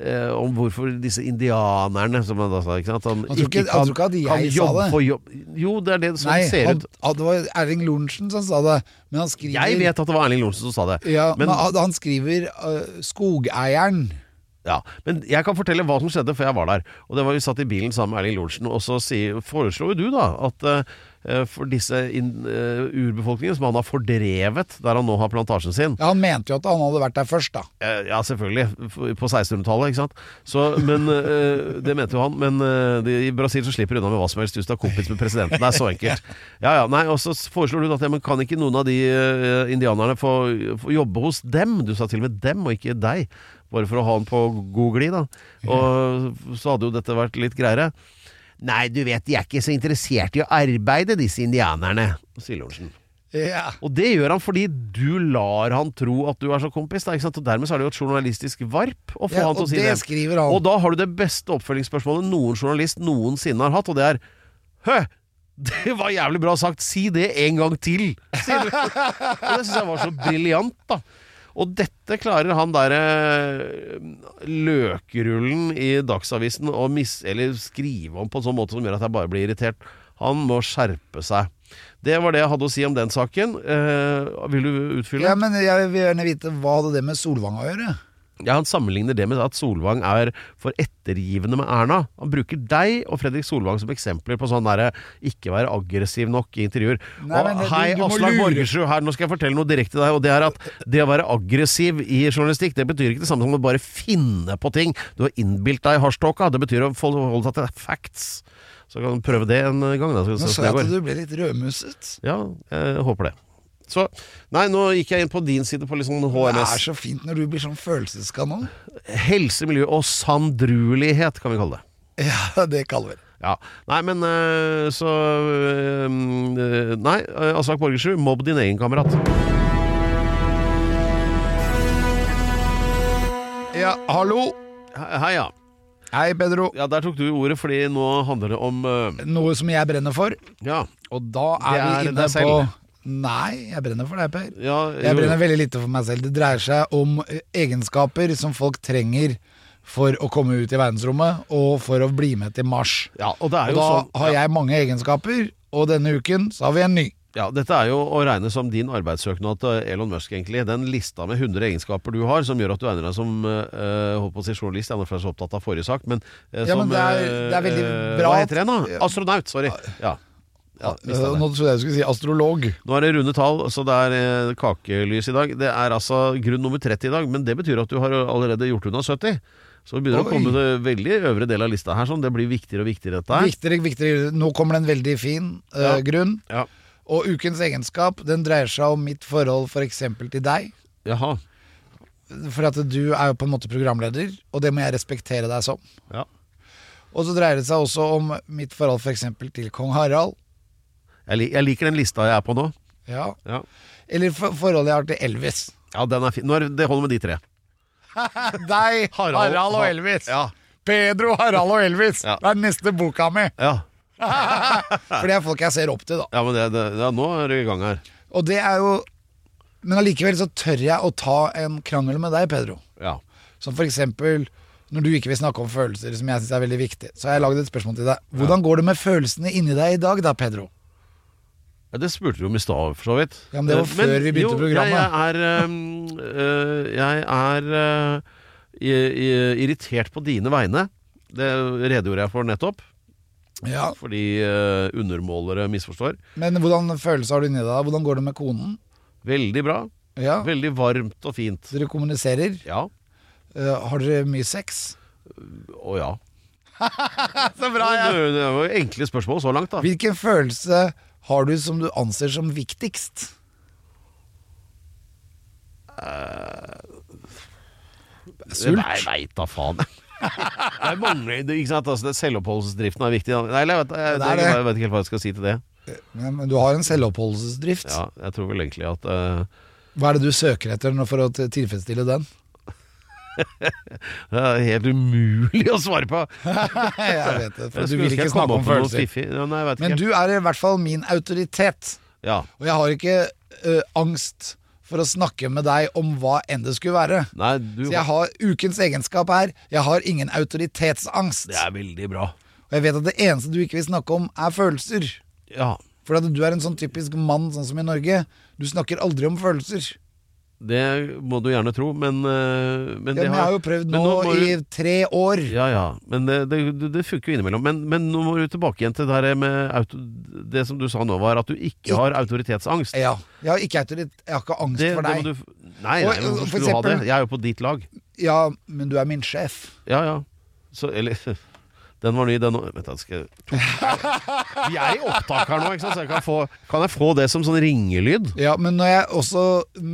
B: eh, om hvorfor disse indianerne, som han da sa, ikke sant Han,
C: Han tror ikke- han tror ikke at jeg sa
B: jobbe
C: det.
B: for jobb Jo, det er det som
C: Nei,
B: sånn ser
C: han,
B: ut.
C: ja, det var Erling Lorentzen som sa det, men han skriver
B: Jeg vet at det var Erling Lorentzen som sa det.
C: ja, men,
B: men,
C: han- han skriver øh, 'skogeieren'.
B: ja, men jeg kan fortelle hva som skjedde, for jeg var der. Og det var Vi satt i bilen sammen med Erling Lorentzen, og så sier- foreslo jo du da at eh, for disse inn- eh, urbefolkningene som han har fordrevet der han nå har plantasjen sin,
C: Ja, han mente jo at han hadde vært der først, da.
B: Eh, Ja, selvfølgelig. f- På 1600-tallet, ikke sant. Så, men, eh, det mente jo han. Men eh, de, i Brasil så slipper du unna med hva som helst hvis du er kompis med presidenten. Det er så enkelt. Ja, ja, nei, Og så foreslår du at ja, men kan ikke noen av de eh, indianerne få, få jobbe hos dem? Du sa til og med dem, og ikke deg. Bare for å ha han på god glid, da. Og så hadde jo dette vært litt greiere. Nei, du vet, de er ikke så interessert i å arbeide, disse indianerne, sier Lorentzen.
C: Ja.
B: Og det gjør han fordi du lar han tro at du er så kompis. Da, ikke sant? Og dermed så er det jo et journalistisk varp å få
C: Ja,
B: han til å
C: og
B: si
C: det
B: det.
C: skriver han.
B: Og da har du det beste oppfølgingsspørsmålet noen journalist noensinne har hatt, og det er Hø! Det var jævlig bra sagt! Si det en gang til! Sier du. og det syns jeg var så briljant, da. Og dette klarer han derre løkrullen i Dagsavisen å mis... Eller skrive om på en sånn måte som gjør at jeg bare blir irritert. Han må skjerpe seg. Det var det jeg hadde å si om den saken. Eh, vil du utfylle?
C: ja, men jeg vil gjerne vite hva hadde det med Solvang å gjøre?
B: Ja, Han sammenligner det med at Solvang er for ettergivende med Erna. Han bruker deg og Fredrik Solvang som eksempler på sånn derre ikke være aggressiv nok i intervjuer.
C: Nei, men
B: og
C: det- du-
B: hei,
C: du må
B: Aslak
C: lure.
B: Borgersrud, her, nå skal jeg fortelle noe direkte til deg. Og det er at det å være aggressiv i journalistikk, det betyr ikke det samme som å bare finne på ting. Du har innbilt deg hasjtåka. Det betyr å forholde seg til facts. Så kan du prøve det en gang, da. Skal vi se hvordan
C: Nå så
B: det
C: jeg
B: går.
C: at du ble litt rødmusset.
B: Ja, jeg håper det. Så Nei, nå gikk jeg inn på din side på litt sånn
C: Det
B: HMS.
C: er så fint når du blir sånn følelseskanon.
B: Helse, miljø og sandruelighet, kan vi kalle det.
C: Ja, det kaller vi det.
B: Ja. Nei, men øh, så øh, øh, Nei, øh, Aslak Borgersrud, mobb din egen kamerat.
C: Ja, hallo!
B: He- Hei, ja.
C: Hei, Pedro.
B: ja. Der tok du ordet, fordi nå handler det om øh,
C: Noe som jeg brenner for,
B: Ja.
C: og da er,
B: Det er
C: vi inne
B: deg
C: på
B: selv.
C: Nei, jeg brenner for deg, Per.
B: ja
C: Jeg
B: jo,
C: brenner veldig lite for meg selv. Det dreier seg om eh, egenskaper som folk trenger for å komme ut i verdensrommet, og for å bli med til Mars.
B: ja, og det er
C: Og
B: jo
C: da
B: sånn
C: har
B: ja,
C: jeg mange egenskaper, og denne uken så har vi en ny.
B: ja, Dette er jo å regne som din arbeidssøknad til Elon Musk, egentlig. Den lista med 100 egenskaper du har, som gjør at du egner deg som øh, holdt på å si journalist. Jeg er nå for jeg er så opptatt av forrige sak, men øh,
C: Ja,
B: som
C: men det er-
B: øh,
C: det er veldig
B: øh,
C: bra
B: Hva
C: at-
B: heter den, da? Astronaut, sorry. Ja. Ja,
C: Eh,
B: mistet det.
C: Nå trodde jeg du skulle si astrolog.
B: Nå er det runde tall, så det er eh, kakelys i dag. Det er altså grunn nummer 30 i dag, men det betyr at du har allerede gjort unna 70. Så det begynner
C: Oi.
B: å komme det veldig øvre del av lista her, sånn. Det blir viktigere og viktigere, dette her.
C: Viktigere, viktigere. Nå kommer det en veldig fin eh,
B: Ja.
C: grunn.
B: Ja.
C: Og ukens egenskap den dreier seg om mitt forhold for eksempel til deg.
B: Jaha.
C: For at du er jo på en måte programleder, og det må jeg respektere deg som.
B: Ja.
C: Og så dreier det seg også om mitt forhold for eksempel til kong Harald.
B: Jeg, li jeg liker den lista jeg er på nå.
C: Ja.
B: Ja,
C: Eller for forholdet jeg har til Elvis.
B: ja den er fin. Nå er det holder med de tre.
C: Deg, Harald, og
B: Ha-
C: Elvis.
B: Ja.
C: Pedro, Harald og Elvis.
B: Ja.
C: Det er den neste boka mi.
B: Ja,
C: For det er folk jeg ser opp til, da.
B: ja men det, det, ja, nå er du i gang her.
C: Og det er jo Men allikevel så tør jeg å ta en krangel med deg, Pedro.
B: Ja.
C: Som for eksempel når du ikke vil snakke om følelser, som jeg syns er veldig viktig. Så har jeg lagd et spørsmål til deg. Hvordan går det med følelsene inni deg i dag da, Pedro?
B: Ja, det spurte du om i stad, for så vidt.
C: Ja, men det var
B: Eh,
C: før vi begynte
B: jo,
C: programmet.
B: Jeg, jeg er, ehm, eh, jeg er eh, i- i- irritert på dine vegne. Det redegjorde jeg for nettopp,
C: Ja,
B: fordi eh, undermålere misforstår.
C: Men hvordan følelse har du inni deg? Hvordan går det med konen?
B: Veldig bra.
C: Ja,
B: Veldig varmt og fint.
C: Dere kommuniserer.
B: Ja.
C: Eh, har dere mye sex?
B: Å ja. eh,
C: Så
B: Det, det var jo enkle spørsmål så langt, da.
C: Hvilken følelse har du som du anser som viktigst?
B: Sult? Nei, veit da faen. Det er mange, det, ikke sant? Altså, det selvoppholdelsesdriften er viktig. da. Nei, jeg vet, jeg,
C: Det er
B: jeg,
C: det.
B: vet ikke helt hva jeg skal si til det.
C: Ja, men du har en selvoppholdelsesdrift.
B: Ja, jeg tror vel egentlig at eh,
C: Hva er det du søker etter nå for å t- tilfredsstille den?
B: det er helt umulig å svare på.
C: Jeg vet det, for
B: Jeg
C: du
B: skulle
C: vil
B: ønske
C: ikke
B: jeg kom
C: snakke om
B: opp med noe
C: følelser.
B: fiffig. Ja, nei, jeg vet
C: Men
B: ikke.
C: du er i hvert fall min autoritet.
B: Ja.
C: Og jeg har ikke ø, angst for å snakke med deg om hva enn det skulle være.
B: Nei, du
C: Så jeg har ukens egenskap her. Jeg har ingen autoritetsangst.
B: Det er veldig bra.
C: Og jeg vet at det eneste du ikke vil snakke om, er følelser.
B: Ja.
C: For at du er en sånn typisk mann, sånn som i Norge. Du snakker aldri om følelser.
B: Det må du gjerne tro, men, eh, men
C: Ja, men jeg har jo prøvd nå, i tre år.
B: Ja, ja, men det, det, det- det funker jo innimellom. Men, men nå må du tilbake igjen til det her med auto, Det som du sa nå, var at du ikke har autoritetsangst.
C: Ja. Jeg har ikke autoritet. Jeg har ikke angst
B: Det,
C: for
B: det må
C: deg.
B: du, nei, nei,
C: Og-
B: men
C: og
B: hvorfor
C: for
B: skulle du ha det?
C: eksempel-
B: Jeg er jo på ditt lag.
C: Ja, men du er min sjef.
B: Ja, ja. Så, eller Den var ny, den òg. Vent, da skal jeg to- Vi er i opptak her nå, ikke sant? så jeg kan få Kan jeg få det som sånn ringelyd?
C: Ja, men når jeg også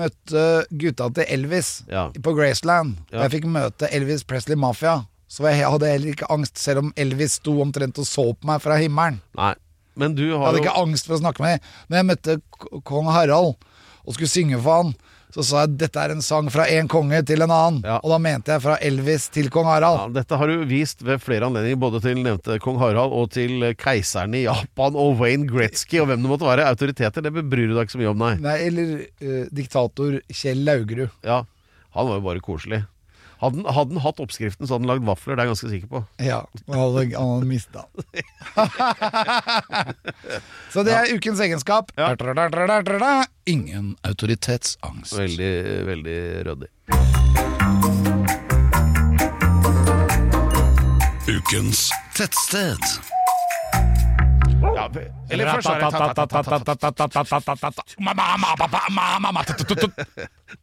C: møtte gutta til Elvis
B: Ja.
C: på Graceland, og
B: Ja.
C: jeg fikk møte Elvis Presley Mafia, så var jeg, jeg hadde jeg heller ikke angst, selv om Elvis sto omtrent og så på meg fra himmelen.
B: Nei. Men du
C: Jeg
B: har jo
C: hadde ikke angst for å snakke med dem. Når jeg møtte k- kong Harald og skulle synge for han, så sa jeg dette er en sang fra en konge til en annen.
B: Ja.
C: Og da mente jeg fra Elvis til kong Harald.
B: ja, dette har du vist ved flere anledninger, både til nevnte kong Harald og til eh, keiseren i Japan og Wayne Gretzky og hvem det måtte være. Autoriteter, det bryr du deg ikke så mye om, nei.
C: Nei, eller eh, diktator Kjell Laugrud.
B: Ja, Han var jo bare koselig. Hadde han- hadde han hatt oppskriften, så hadde han lagd vafler, det er jeg ganske sikker på.
C: Ja, og han hadde, han hadde mista den. Så det er ukens egenskap. Ingen autoritetsangst.
B: Veldig, veldig ryddig.
E: Ukens
C: Tettsted.
B: Ja, eller først var det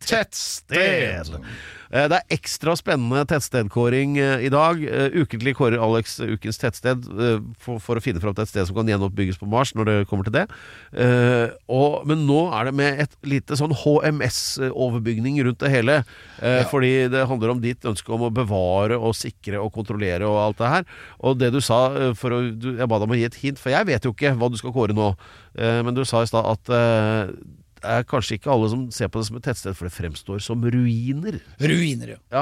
B: tettsted. Eh, Det er ekstra spennende tettstedkåring eh, i dag. Eh, Ukentlig kårer Alex ukens tettsted eh, for, for å finne fram til et sted som kan gjenoppbygges på Mars, når det kommer til det. Eh, Og, men nå er det med et lite sånn HMS-overbygning rundt det hele. Eh, Fordi det handler om ditt ønske om å bevare og sikre og kontrollere og alt det her. Og det du sa eh, for å, du, Jeg ba deg om å gi et hint, for jeg vet jo ikke hva du skal kåre nå. Eh, Men du sa i stad at eh, det er kanskje ikke alle som ser på det som et tettsted, for det fremstår som ruiner.
C: Ruiner, jo.
B: Ja,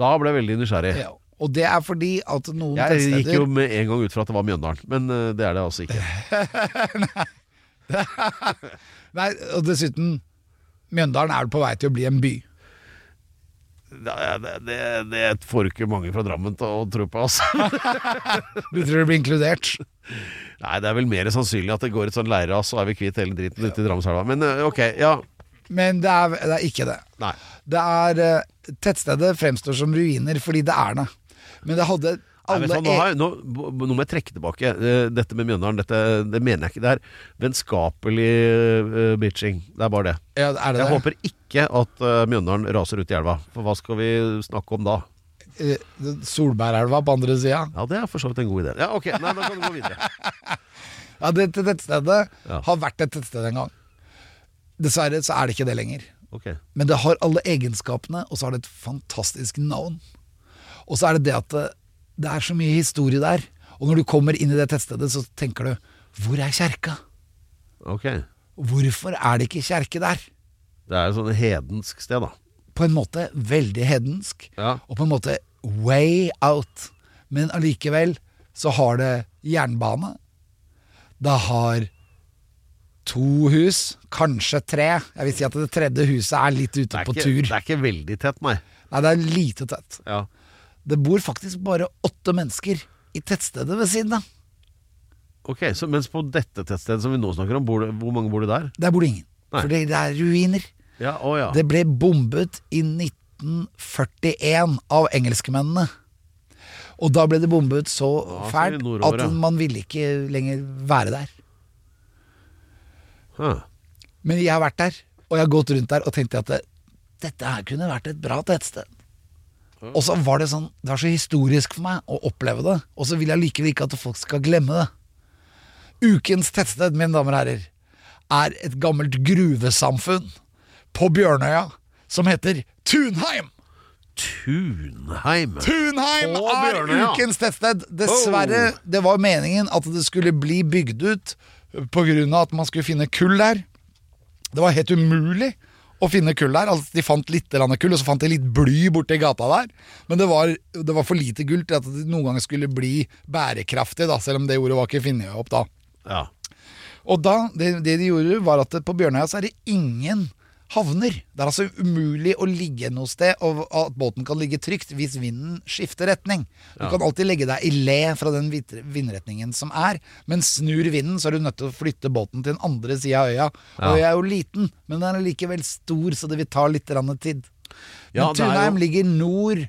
B: da ble jeg veldig nysgjerrig.
C: Ja. Og det er fordi at noen
B: Jeg gikk
C: tettsteder
B: jo med en gang ut fra at det var Mjøndalen, men eh, det er det altså ikke.
C: Nei, Og dessuten, Mjøndalen er på vei til å bli en by.
B: Det, det, det, det får ikke mange fra Drammen til å tro på, altså.
C: Du tror det blir inkludert?
B: Nei, det er vel mer sannsynlig at det går et sånn leirras, så er vi kvitt hele dritten ute i Drammenselva. Men eh, ok, ja.
C: Men det er, det er ikke det.
B: Nei.
C: Det er eh, Tettstedet fremstår som ruiner fordi det er det. Men det hadde
B: Nei,
C: alle
B: vet du hva, nå, har jeg, nå, b- b- nå må jeg trekke tilbake eh, dette med Mjøndalen. Dette, det mener jeg ikke. Det er vennskapelig eh, bitching. Det er bare det.
C: e- ja, er det
B: Jeg
C: det?
B: håper ikke at eh, Mjøndalen raser ut i elva. For hva skal vi snakke om da?
C: Eh, Solbærelva på andre sida.
B: Ja, det er for så vidt en god idé. Ja, ok, nei, da kan du gå videre.
C: Ja, dette tettstedet
B: Ja.
C: har vært et tettsted en gang. Dessverre så er det ikke det lenger.
B: Ok.
C: Men det har alle egenskapene, og så har det et fantastisk navn. Og så er det det at det, det er så mye historie der. Og når du kommer inn i det tettstedet, så tenker du Hvor er kjerka?
B: Ok.
C: Hvorfor er det ikke kjerke der?
B: Det er et sånn hedensk sted, da.
C: På en måte veldig hedensk,
B: Ja.
C: og på en måte way out. Men allikevel så har det jernbane. Det har to hus, kanskje tre. Jeg vil si at det tredje huset er litt ute
B: Det er,
C: på
B: ikke,
C: tur.
B: det er ikke veldig tett, nei.
C: Nei, det er lite tett.
B: Ja.
C: Det bor faktisk bare åtte mennesker i tettstedet ved siden av.
B: Ok, så Mens på dette tettstedet som vi nå snakker om, bor det, hvor mange bor det der?
C: Der bor det ingen.
B: Nei.
C: Fordi det er ruiner.
B: Ja, å ja.
C: Det ble bombet i 1941 av engelskmennene. Og da ble det bombet så
B: så er
C: fælt
B: det nordover,
C: at
B: ja.
C: man ville ikke lenger være der.
B: Huh.
C: Men jeg har vært der, og jeg har gått rundt der og tenkt at det, dette her kunne vært et bra tettsted. Og så var det sånn Det var så historisk for meg å oppleve det, og så vil jeg likevel ikke at folk skal glemme det. Ukens tettsted, mine damer og herrer, er et gammelt gruvesamfunn på Bjørnøya som heter Tunheim!
B: Tunheim.
C: Tunheim
B: På
C: er
B: Bjørnøya.
C: ukens tettsted. Dessverre,
B: Oh.
C: det var meningen at det skulle bli bygd ut pga. at man skulle finne kull der. Det var helt umulig å finne kull der. Altså, de fant litt grann kull, og så fant de litt bly borti gata der. Men det var, det var for lite gull til at det noen gang skulle bli bærekraftig, da, selv om det ordet var ikke funnet opp da.
B: Ja.
C: Og da, det, det de gjorde var at på Bjørnøya så er det ingen havner. Det er altså umulig å ligge noe sted, og at båten kan ligge trygt hvis vinden skifter retning. Du kan alltid legge deg i le fra den vit- vindretningen som er, men snur vinden så er du nødt til å flytte båten til den andre sida av øya. Og øya er jo liten, men den er likevel stor, så det vil ta litt grann tid.
B: Ja, det
C: men
B: er jo-
C: Tunheim ligger nord,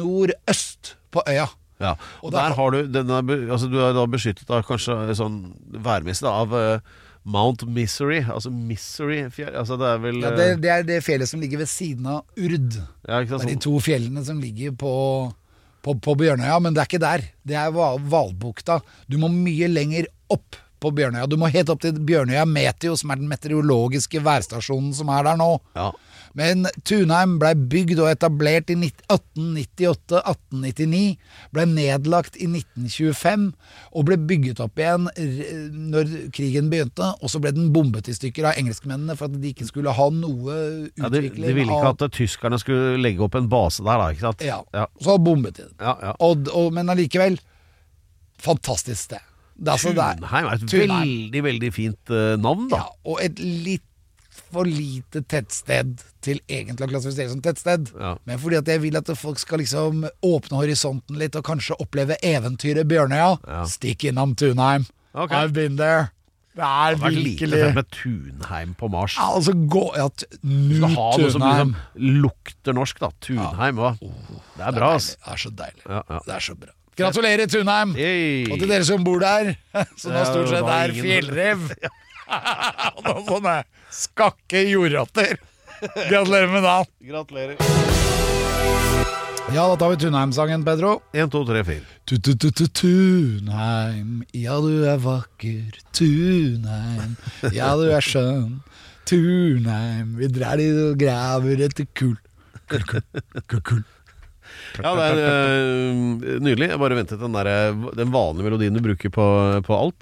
C: nordøst på øya.
B: Ja, og
C: Og
B: der
C: der-
B: har du den er, be- altså, Du er da beskyttet av kanskje sånn værmessig da, av eh, Mount Misery. Altså Misery fjell altså, Det er vel
C: Ja, det, det er det fjellet som ligger ved siden av Urd.
B: eh, ja, ikke sant,
C: Det er de
B: sånn,
C: to fjellene som ligger på, på, på Bjørnøya, men det er ikke der. Det er Hval- Hvalbukta. Du må mye lenger opp på Bjørnøya. Du må helt opp til Bjørnøya Meteo, som er den meteorologiske værstasjonen som er der nå.
B: ja.
C: Men Tunheim blei bygd og etablert i 1898-1899, blei nedlagt i 1925 og ble bygget opp igjen r- når krigen begynte, og så ble den bombet i stykker av engelskmennene for at de ikke skulle ha noe utvikling
B: Ja, de, de ville ikke at eh, tyskerne skulle legge opp en base der, da. Ikke sant?
C: ja.
B: Ja.
C: Så bombet de den.
B: Ja, ja.
C: Og, og, men allikevel fantastisk sted. Det er altså det er-
B: Tunheim er et
C: Tunheim.
B: veldig, veldig fint eh, navn, da.
C: Ja, og et litt for lite tettsted til egentlig å klassifiseres som tettsted.
B: Ja.
C: Men fordi at jeg vil at folk skal liksom åpne horisonten litt og kanskje oppleve eventyret Bjørnøya, stikk innom Tunheim.
B: Ok.
C: I've been there. Det er
B: Det har vært lite
C: virkelig
B: fett med Tunheim på Mars.
C: Ja, Altså, gå ja, t-
B: Du
C: Nå
B: skal ha noe som
C: Tunheim. Oh,
B: liksom lukter norsk, da. Tunheim, hva? Det er bra, ass.
C: Det er så deilig.
B: Ja, ja.
C: Det er så bra. Gratulerer, Tunheim!
B: Hey.
C: Og til dere som bor der, som
B: Det er
C: nå stort
B: jo
C: sett
B: da
C: er
B: ingen-
C: fjellrev. Og noen sånne skakke jordrotter. Gratulerer med dagen.
B: Gratulerer.
C: Ja, da tar vi Tunheim-sangen, Pedro.
B: Én, to, tre, fire.
C: Tu-tu-tu-tu-Tunheim, ja du er vakker. Tunheim, ja du er skjønn. Tunheim, vi drar dit og graver etter kull. Kull, kull, kull, kull.
B: Ja, det er eh, nydelig. Jeg bare ventet den, der, eh, den vanlige melodien du bruker på, på alt.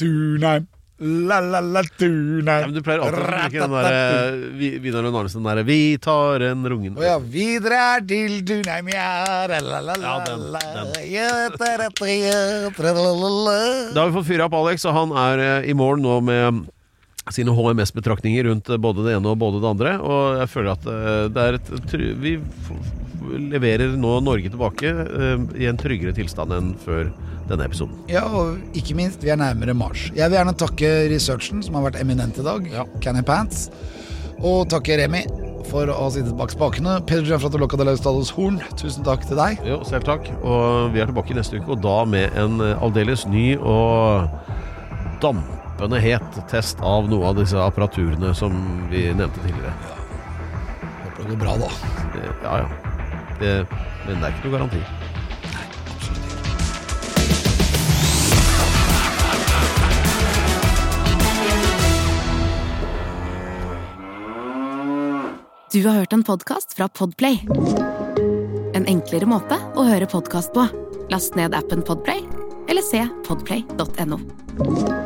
C: Tunheim, la-la-la, Tunheim.
B: Ja, men du pleier alltid å bruke den der eh, Vi- Vidar Lund Arnesen, den derre 'Vi tar en rungen'.
C: Å ja, vi drar til Dunheim, ja
B: Ja,
C: la-la-la-la
B: den, den.
C: ja,
B: Da har vi fått fyra opp Alex, og han er eh, i morgen nå med sine HMS-betraktninger rundt eh, både det ene og både det andre. Og jeg føler at eh, det er et try- Vi f- f- leverer nå Norge tilbake eh, i en tryggere tilstand enn før denne episoden.
C: ja, og ikke minst, vi er nærmere Mars. Jeg vil gjerne takke researchen, som har vært eminent i dag, Canny Pants, og takke Remi for å ha sittet bak spakene. Peder Gianfrato Locca de Laustados Horn, tusen takk til deg.
B: Jo, selv takk. Og vi er tilbake neste uke, og da med en eh, aldeles ny og dampende het test av noe av disse apparaturene som vi nevnte tidligere.
C: Håper det går bra, da.
B: Eh, Ja, ja. Det, men det er ikke noe garanti.
A: Du har hørt en podcast fra Podplay En enklere måte å høre podcast på Last ned appen Podplay Eller se podplay.no